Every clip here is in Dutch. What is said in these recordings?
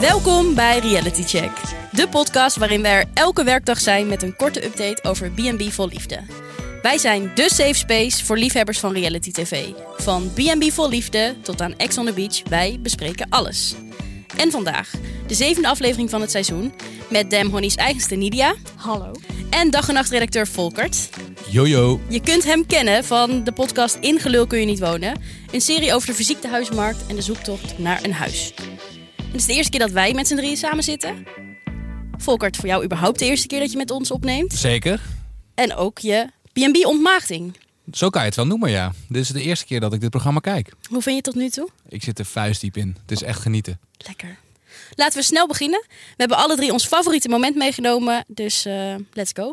Welkom bij Reality Check, de podcast waarin we er elke werkdag zijn met een korte update over B&B Vol Liefde. Wij zijn de safe space voor liefhebbers van reality tv. Van B&B Vol Liefde tot aan Ex on the Beach, wij bespreken alles. En vandaag, de zevende aflevering van het seizoen, met Dam Honey's eigenste Nidia Hallo. en dag en nacht redacteur Volkert. Jojo. Je kunt hem kennen van de podcast In Gelul kun je niet wonen. Een serie over de verziekte huismarkt en de zoektocht naar een huis. En het is de eerste keer dat wij met z'n drieën samen zitten. Volkert, voor jou überhaupt de eerste keer dat je met ons opneemt. Zeker. En ook je B&B ontmaagding. Zo kan je het wel noemen, ja. Dit is de eerste keer dat ik dit programma kijk. Hoe vind je het tot nu toe? Ik zit er vuistdiep in. Het is echt genieten. Lekker. Laten we snel beginnen. We hebben alle drie ons favoriete moment meegenomen, dus eh, let's go.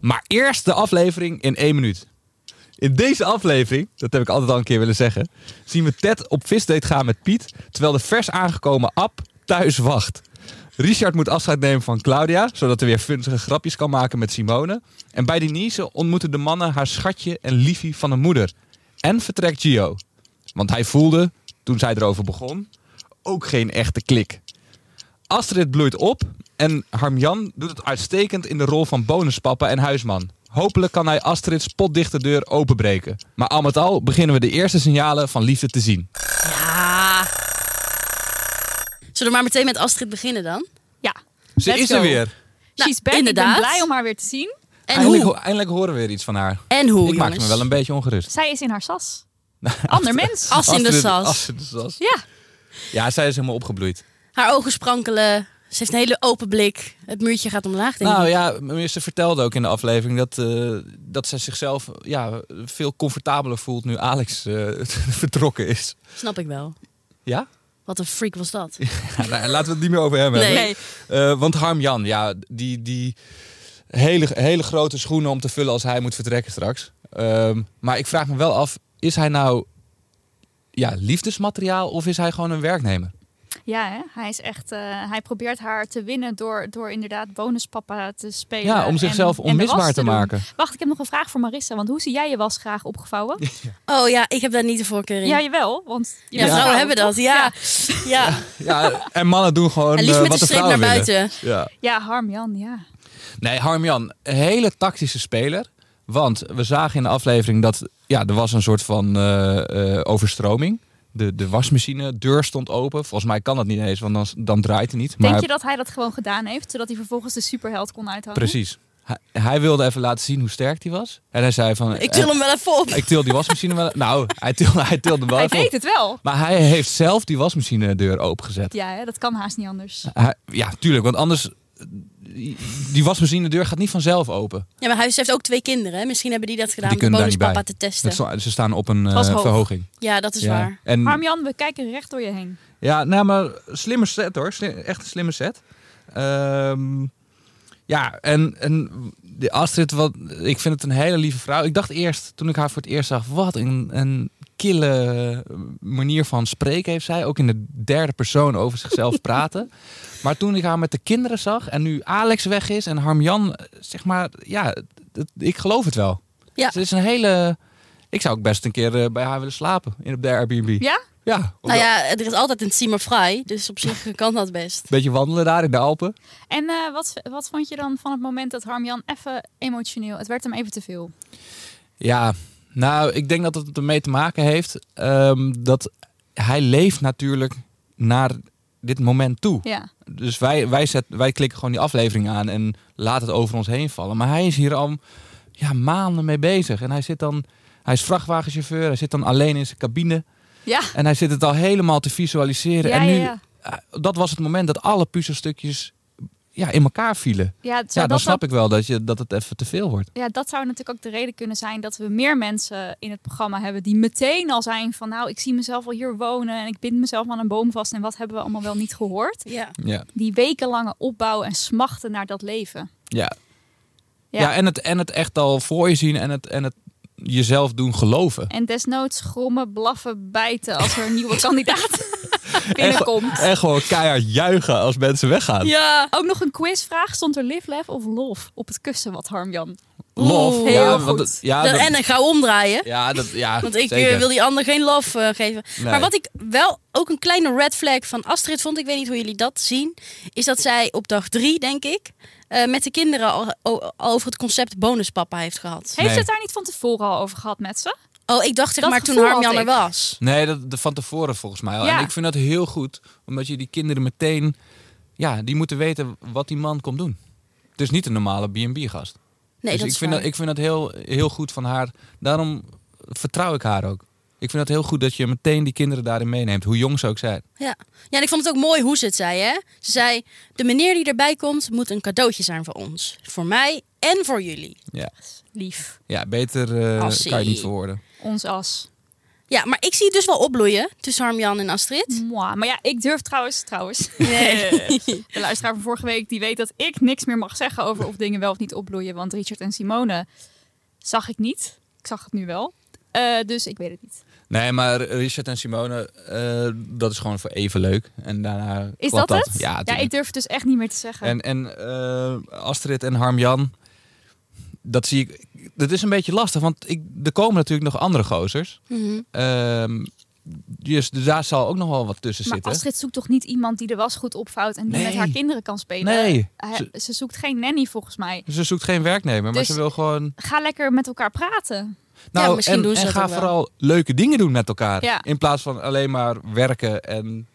Maar eerst de aflevering in één minuut. In deze aflevering, dat heb ik altijd al een keer willen zeggen, zien we Ted op visdate gaan met Piet, terwijl de vers aangekomen Ab thuis wacht. Richard moet afscheid nemen van Claudia, zodat hij weer funzige grapjes kan maken met Simone. En bij Denise ontmoeten de mannen haar schatje en liefie van een moeder. En vertrekt Gio. Want hij voelde, toen zij erover begon, ook geen echte klik. Astrid bloeit op en Harmjan doet het uitstekend in de rol van bonuspapa en huisman. Hopelijk kan hij Astrid's potdichte deur openbreken. Maar al met al beginnen we de eerste signalen van liefde te zien. Ja. Zullen we maar meteen met Astrid beginnen dan? Ja. Ze Let's is go. er weer. Nou, She's back. inderdaad. Ik ben blij om haar weer te zien. En eindelijk, hoe? ho- eindelijk horen we weer iets van haar. En hoe, ik maakte jongens? me wel een beetje ongerust. Zij is in haar sas. Nou, Ander mens. As in de Astrid- sas. Astrid de sas. Ja. Ja, zij is helemaal opgebloeid. Haar ogen sprankelen. Ze heeft een hele open blik. Het muurtje gaat omlaag, denk Nou ik. ja, meneer, ze vertelde ook in de aflevering dat, eh, dat zij zichzelf ja, veel comfortabeler voelt nu Alex eh, vertrokken is. Snap ik wel. Ja? Wat een freak was dat. Ja, nou, laten we het niet meer over hem hebben. Nee. Eh, want Harm Jan, ja, die, die hele, hele grote schoenen om te vullen als hij moet vertrekken straks. Ehm, maar ik vraag me wel af, is hij nou ja, liefdesmateriaal of is hij gewoon een werknemer? Ja, hè? hij is echt. eh, hij probeert haar te winnen door, door inderdaad bonuspapa te spelen. Ja, om Eh, en- zichzelf en de was onmisbaar te doen. maken. Wacht, ik heb nog een vraag voor Marissa. Want hoe zie jij je was graag opgevouwen? Oh ja, ik heb daar niet de voorkeur in. Ja, Ja, jawel. Want je Nou, bent vrouwen vrouw, hebben dat. toch? Ja. ja. Ja, en mannen doen gewoon En liefst eh, met wat de de streep naar vrouwen willen. buiten. Ja. Ja, Harm Jan, ja. Nee, Harmjan, een hele tactische speler. Want we zagen in de aflevering dat ja, er was een soort van eh, eh, overstroming. De, de wasmachine deur stond open. Volgens mij kan dat niet eens, want dan, dan draait hij niet. Denk Maar je dat hij dat gewoon gedaan heeft, zodat hij vervolgens de superheld kon uithangen? precies. Hij, hij wilde even laten zien hoe sterk hij was. En hij zei van... Ik til eh, hem wel even op. ik til die wasmachine wel. Nou, hij tilde, hij tilde hem wel Hij even op. deed het wel. Maar hij heeft zelf die wasmachine deur opengezet. Ja, hè, dat kan haast niet anders. Hij- ja, tuurlijk. Want anders... Die, die wasmachine deur gaat niet vanzelf open. Ja, maar hij heeft ook twee kinderen. hè? Misschien hebben die dat gedaan Die om de kunnen daar niet bonuspapa bij. te testen. Dat sta- ze staan op een eh, Was hoog. verhoging. Ja, dat is ja. waar. En, Harm Jan, we kijken recht door je heen. ja, nou, maar slimme set hoor. Sli- echt een slimme set. Ehm, ja, en, en die Astrid, wat, ik vind het een hele lieve vrouw. Ik dacht eerst, toen ik haar voor het eerst zag, wat een, een kille manier van spreken heeft zij. Ook in de derde persoon over zichzelf praten. Maar toen ik haar met de kinderen zag en nu Alex weg is en Harmjan, eh, zeg maar, ja, dat- ik geloof het wel. Ja. Ze is een hele... Ik zou ook best een keer eh, bij haar willen slapen in op de Airbnb. Ja? Oh, Ja, om Nou ja, er is altijd een Seymour Fry, dus op zich kan dat best. beetje wandelen daar in de Alpen. En eh, wat, wat vond je dan van het moment dat Harmjan even emotioneel... Het werd hem even te veel. Ja, nou, ik denk dat het ermee te maken heeft ehm, dat hij leeft natuurlijk naar dit moment toe. Ja. Dus wij, wij, zet, wij klikken gewoon die aflevering aan en laten het over ons heen vallen. Maar hij is hier al ja, maanden mee bezig. En hij zit dan, hij is vrachtwagenchauffeur, hij zit dan alleen in zijn cabine. Ja. En hij zit het al helemaal te visualiseren. Ja, en nu, ja, ja. eh, dat was het moment dat alle puzzelstukjes ja, in elkaar vielen. Ja, zou Ja, dan dat snap dan- ik wel dat, je, dat het even te veel wordt. ja, dat zou natuurlijk ook de reden kunnen zijn dat we meer mensen in het programma hebben die meteen al zijn van nou, ik zie mezelf al hier wonen en ik bind mezelf aan een boom vast en wat hebben we allemaal wel niet gehoord. Ja. Ja. Die wekenlange opbouw en smachten naar dat leven. Ja. Ja. Ja, en, het, en het echt al voor je zien en het, en het jezelf doen geloven. En desnoods grommen, blaffen, bijten als er een nieuwe kandidaat binnenkomt. En gewoon keihard juichen als mensen weggaan. Ja. Ook nog een quizvraag. Stond er live, love of love op het kussen wat Harmjan? Love. Oeh, ja, heel want goed. dat- ja, dat- Nou, en ik ga omdraaien. ja, dat, ja, Want ik eh, zeker. wil die ander geen love eh, geven. Nee. Maar wat ik wel ook een kleine red flag van Astrid vond, ik weet niet hoe jullie dat zien, is dat zij op dag drie, denk ik, eh, met de kinderen al, al- al over het concept bonuspapa heeft gehad. Heeft Nee. het daar niet van tevoren al over gehad met ze? Oh, ik dacht het Dat maar toen gevoel Harmjan had er ik. was. Nee, dat, dat van tevoren volgens mij al. Ja. En ik vind dat heel goed, omdat je die kinderen meteen... Ja, die moeten weten wat die man komt doen. Het is niet een normale B&B-gast. Nee, dus dat ik, is vind waar. dat, ik vind dat heel, heel goed van haar. Daarom vertrouw ik haar ook. Ik vind dat heel goed dat je meteen die kinderen daarin meeneemt. Hoe jong ze ook zijn. Ja. ja, en ik vond het ook mooi hoe ze het zei. Hè? Ze zei, de meneer die erbij komt, moet een cadeautje zijn voor ons. Voor mij en voor jullie. Ja, Lief. ja beter eh, Assie. kan je niet verwoorden. Ons as. Ja, maar ik zie het dus wel opbloeien tussen Harmjan en Astrid. Mwah. Maar ja, ik durf trouwens, trouwens. Nee. De luisteraar van vorige week die weet dat ik niks meer mag zeggen over of dingen wel of niet opbloeien. Want Richard en Simone zag ik niet. Ik zag het nu wel. Eh, dus ik weet het niet. Nee, maar Richard en Simone, eh, dat is gewoon voor even leuk. En daarna Is klapt dat, het? Ja, tuurlijk. ik durf het dus echt niet meer te zeggen. En, en eh, Astrid en Harmjan, dat zie ik. Dat is een beetje lastig, want ik, er komen natuurlijk nog andere gozers. Mm. Mhm. Ehm, dus daar zal ook nog wel wat tussen maar zitten. Astrid zoekt toch niet iemand die de was goed opvouwt en die Nee. met haar kinderen kan spelen? Nee, Eh, ze, Ze zoekt geen nanny volgens mij. ze zoekt geen werknemer, maar Dus- ze wil gewoon. Ga lekker met elkaar praten. Nou, misschien en, doen ze en dat ga ook wel. vooral leuke dingen doen met elkaar. Ja. In plaats van alleen maar werken en.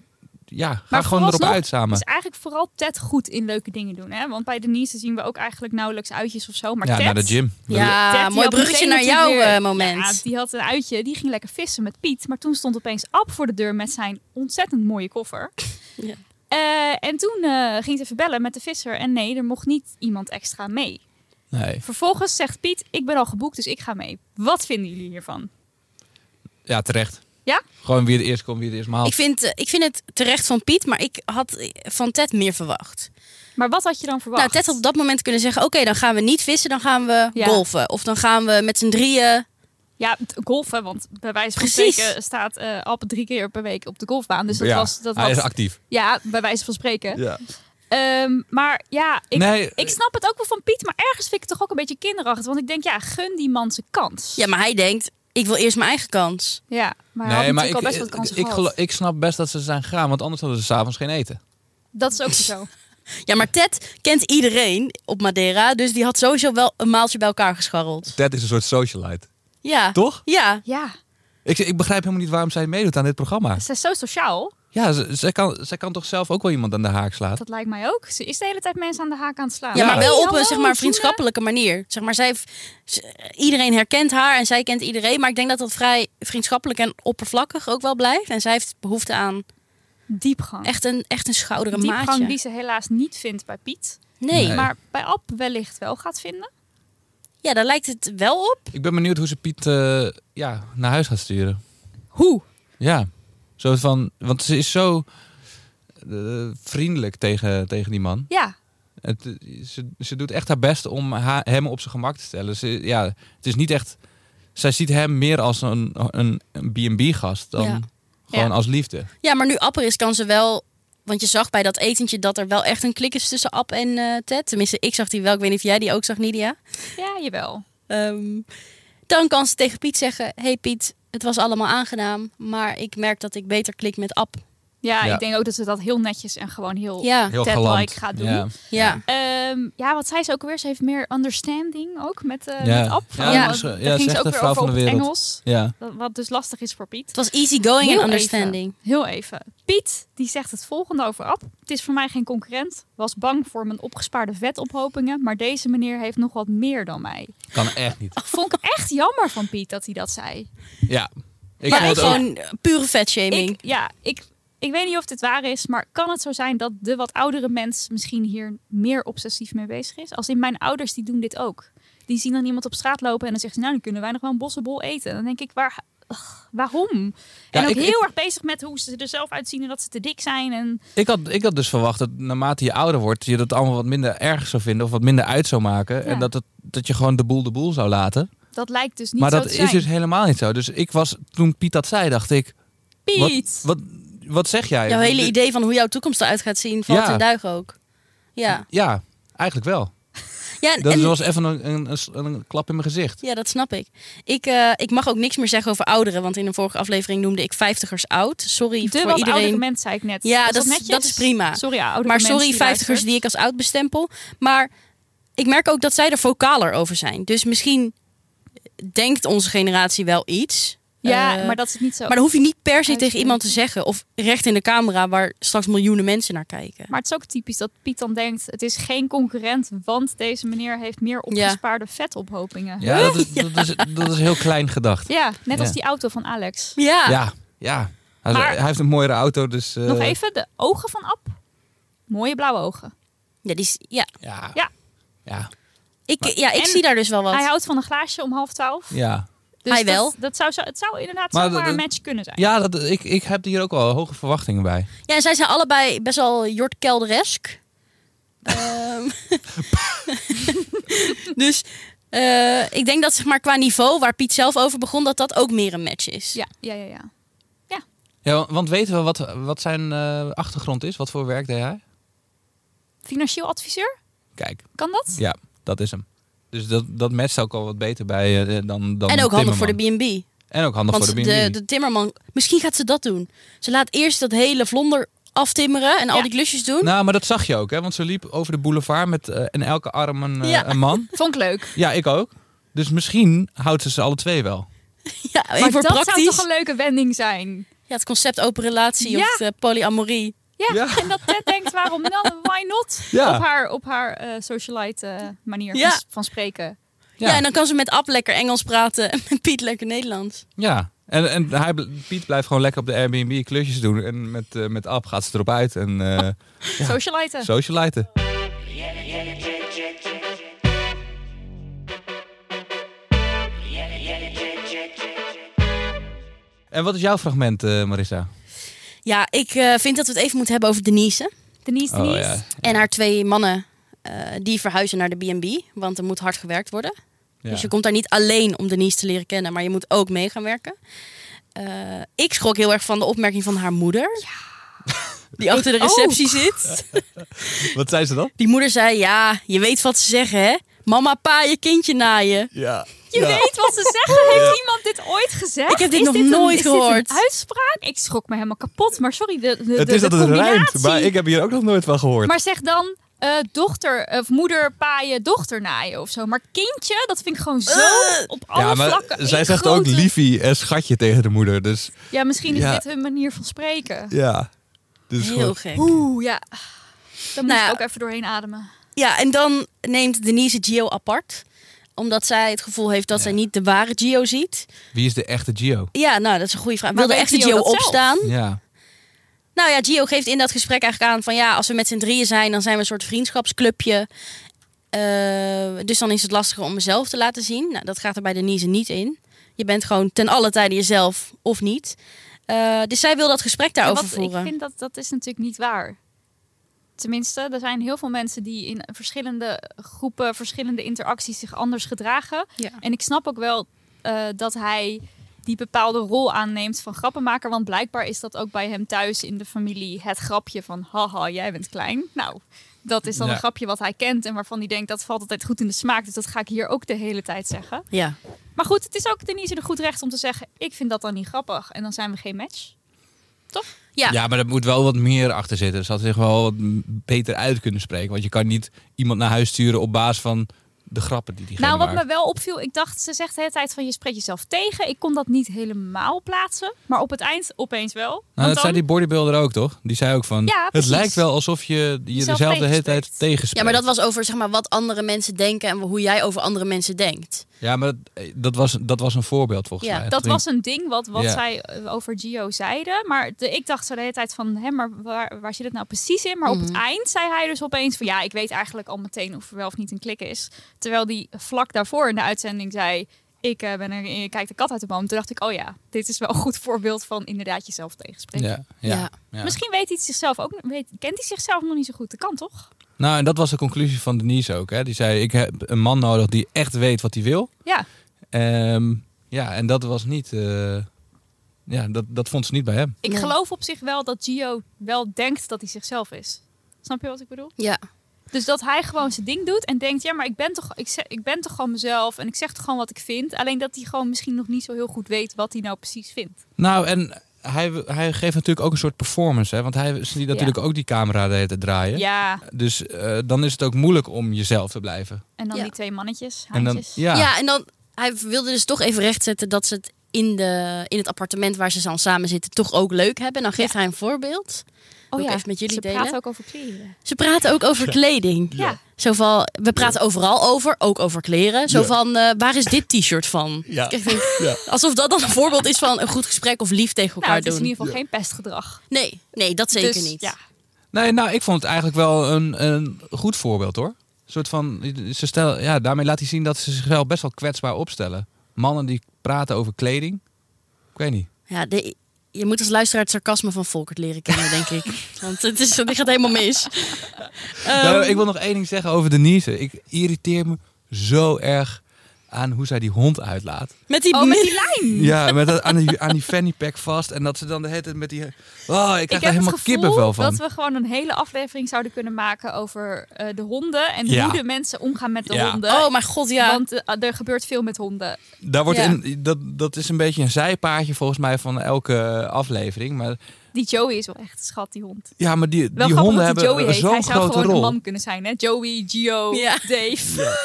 Ja, ga Maar gewoon erop vooralsnog uit samen. Dus eigenlijk vooral Ted goed in leuke dingen doen. Hè? Want bij Denise zien we ook eigenlijk nauwelijks uitjes of zo. Maar ja, Ted, naar de gym. Ted, Ja, die mooi had bruggetje meteen naar jouw natuurlijk weer- eh, moment. Ja, die had een uitje, die ging lekker vissen met Piet. Maar toen stond opeens Ab voor de deur met zijn ontzettend mooie koffer. Ja. Eh, en toen eh, ging ze even bellen met de visser. En nee, er mocht niet iemand extra mee. Nee. Vervolgens zegt Piet, ik ben al geboekt, dus ik ga mee. Wat vinden jullie hiervan? Ja, terecht. Ja? Gewoon wie het eerst komt, wie het eerst maalt. Ik vind, eh, ik vind het terecht van Piet, maar ik had eh, van Ted meer verwacht. Maar wat had je dan verwacht? Nou, Ted had op dat moment kunnen zeggen: Oké, dan gaan we niet vissen, dan gaan we Ja. golven. Of dan gaan we met z'n drieën. Ja, t- golfen, want bij wijze van Precies. spreken staat eh Ab drie keer per week op de golfbaan. Dus dat ja, was... Dat hij had- is actief. ja, bij wijze van spreken. Ja. Ehm, maar ja, ik, nee, ik snap het ook wel van Piet, maar ergens vind ik het toch ook een beetje kinderachtig. Want ik denk, ja, gun die man zijn kans. Ja, maar hij denkt: Ik wil eerst mijn eigen kans. Ja, maar hij had nee, maar natuurlijk ik, al best wat ik, kansen ik, gehad. gelo- ik snap best dat ze zijn gegaan, want anders hadden ze s'avonds geen eten. Dat is ook zo. Ja, maar Ted kent iedereen op Madeira, dus die had sowieso wel een maaltje bij elkaar gescharreld. Ted is een soort socialite. Ja. Toch? Ja. Ja, Ik, ik begrijp helemaal niet waarom zij meedoet aan dit programma. ze is zo sociaal. Ja, ze- zij kan, zij kan toch zelf ook wel iemand aan de haak slaan? Dat lijkt mij ook. Ze is de hele tijd mensen aan de haak aan het slaan. Ja, maar Ja. wel op Hallo, een zeg maar, Tine. vriendschappelijke manier. Zeg maar, zij, heeft- ze- iedereen herkent haar en zij kent iedereen. Maar ik denk dat dat vrij vriendschappelijk en oppervlakkig ook wel blijft. En zij heeft behoefte aan Diepgang. echt een, echt een schouder, een Diepgang maatje. die ze helaas niet vindt bij Piet. Nee. Nee. Maar bij Ab wellicht wel gaat vinden. Ja, daar lijkt het wel op. Ik ben benieuwd hoe ze Piet eh, ja, naar huis gaat sturen. Hoe? Ja, zo van, want ze is zo eh, vriendelijk tegen, tegen die man. Ja, Het, ze, ze doet echt haar best om ha- hem op zijn gemak te stellen. Ze, ja, het is niet echt. Zij ziet hem meer als een, een, een B&B-gast dan Ja. gewoon Ja. als liefde. Ja, maar nu Apper is, kan ze wel... Want je zag bij dat etentje dat er wel echt een klik is tussen App en eh, Ted. Tenminste, ik zag die wel. Ik weet niet of jij die ook zag, Nidia. ja jawel. Ehm, dan kan ze tegen Piet zeggen... hey Piet, het was allemaal aangenaam. Maar ik merk dat ik beter klik met App. Ja, Ja. ik denk ook dat ze dat heel netjes en gewoon heel... Ja, ja. Heel Ted galant. Like gaat doen. Ja. ja. Ehm, ja, wat zei ze ook weer? Ze heeft meer understanding ook met, eh Ja. met Ab. Ja, Want dus, eh, daar ja, ze ging is ze echt ook de weer vrouw over van op de het wereld. Engels. Ja. Wat- Wat dus lastig is voor Piet. Het was easygoing Heel en even. understanding. Heel even. Piet die zegt het volgende over Ab. Het is voor mij geen concurrent. Was bang voor mijn opgespaarde vetophopingen. Maar deze meneer heeft nog wat meer dan mij. Kan echt niet. Vond ik echt jammer van Piet dat hij dat zei. Ja. Ik maar vond het ook. gewoon eh, pure vetshaming. Ik, ja, ik, ik weet niet of dit waar is. Maar kan het zo zijn dat de wat oudere mens misschien hier meer obsessief mee bezig is? Als in mijn ouders die doen dit ook. Die zien dan iemand op straat lopen en dan zegt ze, nou dan kunnen wij nog wel een bossenbol eten. En dan denk ik, waar, ugh, waarom? en ook ik- heel ik- erg bezig met hoe ze er zelf uitzien en dat ze te dik zijn. En Ik had, ik had dus verwacht dat naarmate je ouder wordt, je dat allemaal wat minder erg zou vinden of wat minder uit zou maken. En dat, het, dat je gewoon de boel de boel zou laten. dat lijkt dus niet maar zo dat te is zijn. dus helemaal niet zo. Dus ik was, toen Piet dat zei, dacht ik, Piet! Wat, wat, wat zeg jij? Jouw hele Dit- idee van hoe jouw toekomst eruit gaat zien valt Ja. in duigen ook. Ja, Ja, eigenlijk wel. ja en, Dat en- was even een, een, een, een klap in mijn gezicht. Ja, dat snap ik. Ik, eh, ik mag ook niks meer zeggen over ouderen, want in een vorige aflevering noemde ik vijftigers oud. Sorry De voor wat oudere iedereen. mens, zei ik net. Ja, Is dat is- netjes? dat is prima. Sorry, oudere Maar mens sorry, die vijftigers luistert. die ik als oud bestempel. Maar ik merk ook dat zij er vocaler over zijn. Dus misschien denkt onze generatie wel iets. Ja, Eh, maar dat is niet zo. maar dan hoef je niet per se Uit- tegen iemand te zeggen. Of recht in de camera waar straks miljoenen mensen naar kijken. Maar het is ook typisch dat Piet dan denkt: het is geen concurrent, want deze meneer heeft meer opgespaarde vetophopingen. Ja, dat is, dat is, dat is heel klein gedacht. Ja, net als Ja. die auto van Alex. Ja, Ja, ja. Hij, Maar- hij heeft een mooiere auto, dus... eh, Nog even de ogen van Ab. Mooie blauwe ogen. ja, die, is- ja. Ja. Ja. Ja. ik, ja, ik En zie daar dus wel wat. Hij houdt van een glaasje om half twaalf. Ja. Dus Hij dat- wel. Dat, zou, zo- het zou inderdaad Maar zomaar dat- een match kunnen zijn. Ja, dat, ik, ik heb hier ook wel hoge verwachtingen bij. Ja, en zij zijn allebei best wel Jort Kelderesk. Ehm, dus eh, ik denk dat zeg maar qua niveau, waar Piet zelf over begon, dat dat ook meer een match is. ja, ja, ja. ja. Ja, wa- want weten we wat, wat zijn eh, achtergrond is? Wat voor werk deed hij? Financieel adviseur? Kijk, Kan dat? ja, dat is hem. Dus dat, dat matcht ook al wat beter bij eh, dan, dan en ook handig voor de Timmerman. B&B. En ook handig Want voor de B&B. de, de timmerman, misschien gaat ze dat doen. Ze laat eerst dat hele vlonder aftimmeren en al Ja. die klusjes doen. Nou, maar dat zag je ook, hè? Want ze liep over de boulevard met eh, in elke arm een, eh, Ja. een man. Vond ik leuk. Ja, ik ook. Dus misschien houdt ze ze alle twee wel. ja, Maar even dat voor zou praktisch. toch een leuke wending zijn? Ja, het concept open relatie Ja. of eh, polyamorie. Ja, Ja. en dat Ted denkt, waarom dan? Why not? Ja. Op haar, op haar eh, socialite eh, manier Ja. van, s- van spreken. Ja. en dan kan ze met Ab lekker Engels praten en met Piet lekker Nederlands. Ja. En, en hij, bl- Piet blijft gewoon lekker op de Airbnb klusjes doen. En met, eh met Ab gaat ze erop uit en Oh, eh Socialite. socialiten. En wat is jouw fragment, eh, Marissa? Ja, ik eh, vind dat we het even moeten hebben over Denise. Denise, Oh, Denise. ja. En haar twee mannen, eh, die verhuizen naar de B&B. Want er moet hard gewerkt worden. Ja. Dus je komt daar niet alleen om Denise te leren kennen. Maar je moet ook mee gaan werken. Eh, ik schrok heel erg van de opmerking van haar moeder. Die achter de Ik ook. receptie zit. Wat zei ze dan? Die moeder zei, ja, je weet wat ze zeggen, hè? Mama, pa, je kindje naaien. Ja. Je weet wat ze zeggen. Heeft iemand dit ooit gezegd? Ik heb dit Is nog een- nooit Is dit gehoord. een uitspraak? Ik schrok me helemaal kapot. Maar sorry, de, de, Het de- is de dat het rijmt, combinatie. maar ik heb hier ook nog nooit van gehoord. Maar zeg dan eh, dochter of moeder paaien, dochter naaien of zo. Maar kindje, dat vind ik gewoon zo op alle Eh. ja, maar vlakken. zij één zegt ook grote- liefie en schatje tegen de moeder. Dus Ja, misschien is Ja. dit hun manier van spreken. ja. Dus Heel gek. Oeh, ja. Dan moet Nou ja. ik ook even doorheen ademen. Ja, en dan neemt Denise Gio apart. Omdat zij het gevoel heeft dat zij niet de ware Gio ziet. Wie is de echte Gio? Ja, nou, dat is een goede vraag. Wil de weet echte Gio Gio dat zelf? opstaan? Ja. Nou ja, Gio geeft in dat gesprek eigenlijk aan van ja, als we met z'n drieën zijn, dan zijn we een soort vriendschapsclubje. Eh, dus dan is het lastiger om mezelf te laten zien. Nou, dat gaat er bij Denise niet in. Je bent gewoon ten alle tijde jezelf of niet. Eh, dus zij wil dat gesprek Ja, daarover wat, ik voeren. vind dat dat is natuurlijk niet waar. Tenminste, er zijn heel veel mensen die in verschillende groepen, verschillende interacties zich anders gedragen. Ja. En ik snap ook wel eh, dat hij die bepaalde rol aanneemt van grappenmaker. Want blijkbaar is dat ook bij hem thuis in de familie het grapje van haha, jij bent klein. Nou, dat is dan Ja. een grapje wat hij kent en waarvan hij denkt dat valt altijd goed in de smaak. Dus dat ga ik hier ook de hele tijd zeggen. Ja. Maar goed, het is ook Denise een goed recht om te zeggen, ik vind dat dan niet grappig. En dan zijn we geen match. Ja. Ja. maar er moet wel wat meer achter zitten. Ze had zich wel wat m- beter uit kunnen spreken. Want je kan niet iemand naar huis sturen op basis van de grappen die diegene Nou, wat me maakt. wel opviel, ik dacht, ze zegt de hele tijd van je spreekt jezelf tegen. Ik kon dat niet helemaal plaatsen, maar op het eind opeens wel. Want Nou, dat dan- zei die bodybuilder ook, toch? Die zei ook van, Ja, het precies. lijkt wel alsof je je Jezelf dezelfde hele tijd tegenspreekt. tegenspreekt. ja, maar dat was over zeg maar, wat andere mensen denken en hoe jij over andere mensen denkt. Ja, maar dat, eh, dat was, dat was een voorbeeld volgens Ja, mij. dat was een ding wat, wat Ja. zij eh, over Gio zeiden. Maar de, ik dacht zo de hele tijd van, hè, maar waar, waar zit het nou precies in? Maar op het eind zei hij dus opeens van, ja, ik weet eigenlijk al meteen of er wel of niet een klik is. Terwijl die vlak daarvoor in de uitzending zei, ik eh, ben er, ik kijk de kat uit de boom. Toen dacht ik, oh ja, dit is wel een goed voorbeeld van inderdaad jezelf tegenspreken. Ja, ja, Ja. ja. Misschien weet hij het zichzelf ook, weet, kent hij zichzelf nog niet zo goed. Dat kan toch? Nou, en dat was de conclusie van Denise ook. Hè? Die zei, ik heb een man nodig die echt weet wat hij wil. Ja, Ehm, ja, en dat was niet eh, Ja, dat, dat vond ze niet bij hem. Ik Nee. geloof op zich wel dat Gio wel denkt dat hij zichzelf is. Snap je wat ik bedoel? Ja. Dus dat hij gewoon zijn ding doet en denkt, ja, maar ik ben toch, ik zeg, ik ben toch gewoon mezelf en ik zeg toch gewoon wat ik vind. Alleen dat hij gewoon misschien nog niet zo heel goed weet wat hij nou precies vindt. Nou, en hij, hij geeft natuurlijk ook een soort performance, hè? Want hij ziet natuurlijk ook die camera de hele tijd draaien. Ja, Dus eh, dan is het ook moeilijk om jezelf te blijven. en dan Ja. die twee mannetjes, En dan, haantjes. Ja. ja, en dan hij wilde dus toch even rechtzetten dat ze het in, de, in het appartement waar ze dan samen zitten toch ook leuk hebben. Dan geeft hij een voorbeeld. Wil ik even met jullie Oh ze delen? praten ook over kleren. Ze praten ook over kleding. Ja. Zo van, we praten overal over, ook over kleren. Zo Ja. van, eh, waar is dit t-shirt van? Ja. Ik denk, Ja. Alsof dat dan een voorbeeld is van een goed gesprek of lief tegen Nou, elkaar het is in doen. ieder geval geen pestgedrag. Nee, nee, dat zeker Dus, niet. Ja. Nee, nou, ik vond het eigenlijk wel een, een goed voorbeeld hoor. Een soort van, ze stellen, ja, daarmee laat hij zien dat ze zichzelf best wel kwetsbaar opstellen. Mannen die praten over kleding. Ik weet niet. Ja, de- je moet als luisteraar het sarcasme van Volkert leren kennen, denk ik. Want het is, dit gaat helemaal mis. Nou, Ehm, ik wil nog één ding zeggen over Denise. Ik irriteer me zo erg aan hoe zij die hond uitlaat. Met die Oh, met die lijn. Ja, met dat, aan, die, aan die fanny pack vast. En dat ze dan de hele tijd met die... Oh, ik krijg Ik daar heb helemaal het gevoel kippenvel van. dat we gewoon een hele aflevering zouden kunnen maken over eh, de honden en Ja. hoe de mensen omgaan met de Ja. honden. Oh mijn god, ja. Want eh, er gebeurt veel met honden. Daar wordt Ja. in, dat, dat is een beetje een zijpaadje volgens mij van elke eh, aflevering. Maar, Die Joey is wel echt een schat, die hond. ja, maar die, Wel die grappig honden dat die Joey hebben heet. Hij zo'n zou grote gewoon een rol. man kunnen zijn, hè? Joey, Gio, Ja. Dave.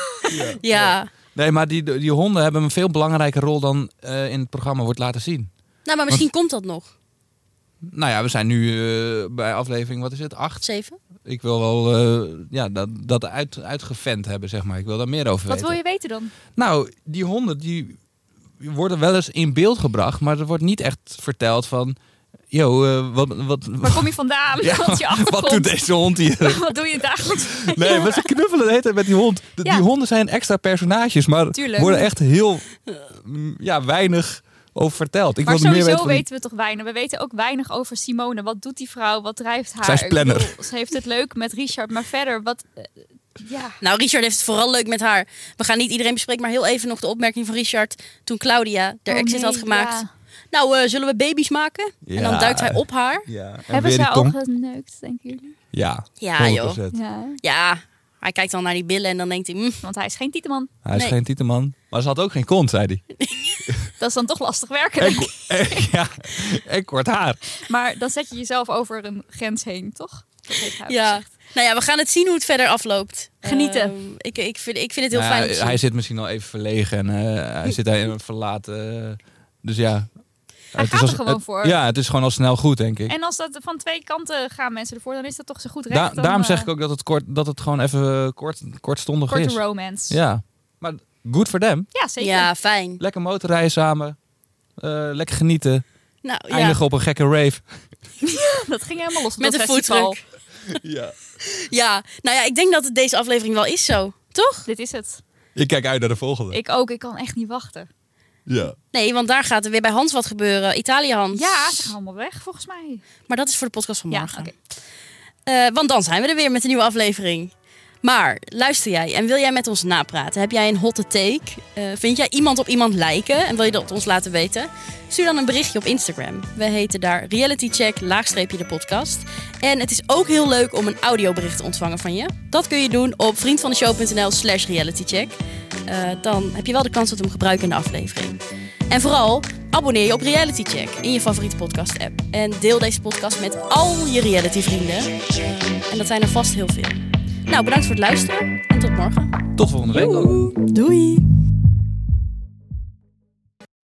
ja. Nou, Nee, maar die, die honden hebben een veel belangrijke rol dan eh, in het programma wordt laten zien. Nou, maar misschien komt dat nog. Nou ja, we zijn nu eh, bij aflevering, wat is het, acht? Zeven? Ik wil wel eh, ja, dat, dat uit, uitgevent hebben, zeg maar. Ik wil daar meer over Wat weten. wil je weten dan? Nou, die honden die worden wel eens in beeld gebracht, maar er wordt niet echt verteld van... Yo, eh, wat, wat, Waar kom je vandaan? Ja, Wat, is je wat achtergrond? doet deze hond hier? Wat doe je dagelijks? Nee, maar ze knuffelen de hele tijd met die hond. De- Ja. Die honden zijn extra personages, maar Tuurlijk. worden echt heel mm, ja, weinig over verteld. Ik maar wilde meer weten sowieso van die- weten we toch weinig. We weten ook weinig over Simone. Wat doet die vrouw? Wat drijft haar? Zij is Ik planner. bedoel, ze heeft het leuk met Richard, maar verder, wat... eh, ja. Nou, Richard heeft het vooral leuk met haar. We gaan niet iedereen bespreken, maar heel even nog de opmerking van Richard. Toen Claudia de Oh, exit nee, had gemaakt. ja. Nou, eh, zullen we baby's maken? En dan Ja. duikt hij op haar. Ja, en Hebben weer ze die ook tong. geneukt, denken jullie? Ja, Ja, 100%. joh. Ja. Ja, hij kijkt dan naar die billen en dan denkt hij... "Mm, Want hij is geen tieteman. Hij is Nee. geen titelman. Maar ze had ook geen kont, zei hij. Dat is dan toch lastig werken. En, ko- en- ja, en kort haar. Maar dan zet je jezelf over een grens heen, toch? Dat heeft hij ja. ook gezegd. Nou ja, we gaan het zien hoe het verder afloopt. Genieten. Ehm, ik, ik, vind, ik vind het heel Nou ja, fijn. om te hij zien. zit misschien al even verlegen en eh, hij zit daar in een verlaten... eh, dus ja. Hij gaat er gewoon het- voor. Ja, het is gewoon al snel goed, denk ik. En als dat van twee kanten gaan mensen ervoor, dan is dat toch zo goed recht. Da- dan, daarom eh, zeg ik ook dat het, kort, dat het gewoon even eh, kort, kortstondig Korte is. romance. Ja, Ja, maar goed voor hem. zeker. Ja, fijn. Lekker motorrijden samen. Eh, lekker genieten. Nou, ja. Eindigen op een gekke rave. Dat ging helemaal los op Met dat een festival. foodtruck. Ja. Ja, nou ja, ik denk dat het deze aflevering wel is zo, toch? Dit is het. Ik kijk uit naar de volgende. Ik ook. Ik kan echt niet wachten. Ja. Nee, want daar gaat er weer bij Hans wat gebeuren. Italië Hans. Ja, ze gaan allemaal weg volgens mij. Maar dat is voor de podcast van Ja, morgen. oké. Eh, want dan zijn we er weer met een nieuwe aflevering. Maar luister jij en wil jij met ons napraten? Heb jij een hotte take? Eh, vind jij iemand op iemand lijken en wil je dat ons laten weten? Stuur dan een berichtje op Instagram. We heten daar realitycheck laagstreepje de podcast. En het is ook heel leuk om een audiobericht te ontvangen van je. Dat kun je doen op vriendvandeshow.nl slash realitycheck. Eh, dan heb je wel de kans dat we hem gebruiken in de aflevering. En vooral, abonneer je op Reality Check in je favoriete podcast-app. En deel deze podcast met al je reality-vrienden. En dat zijn er vast heel veel. Nou, bedankt voor het luisteren en tot morgen. Tot volgende week. ook. Doei!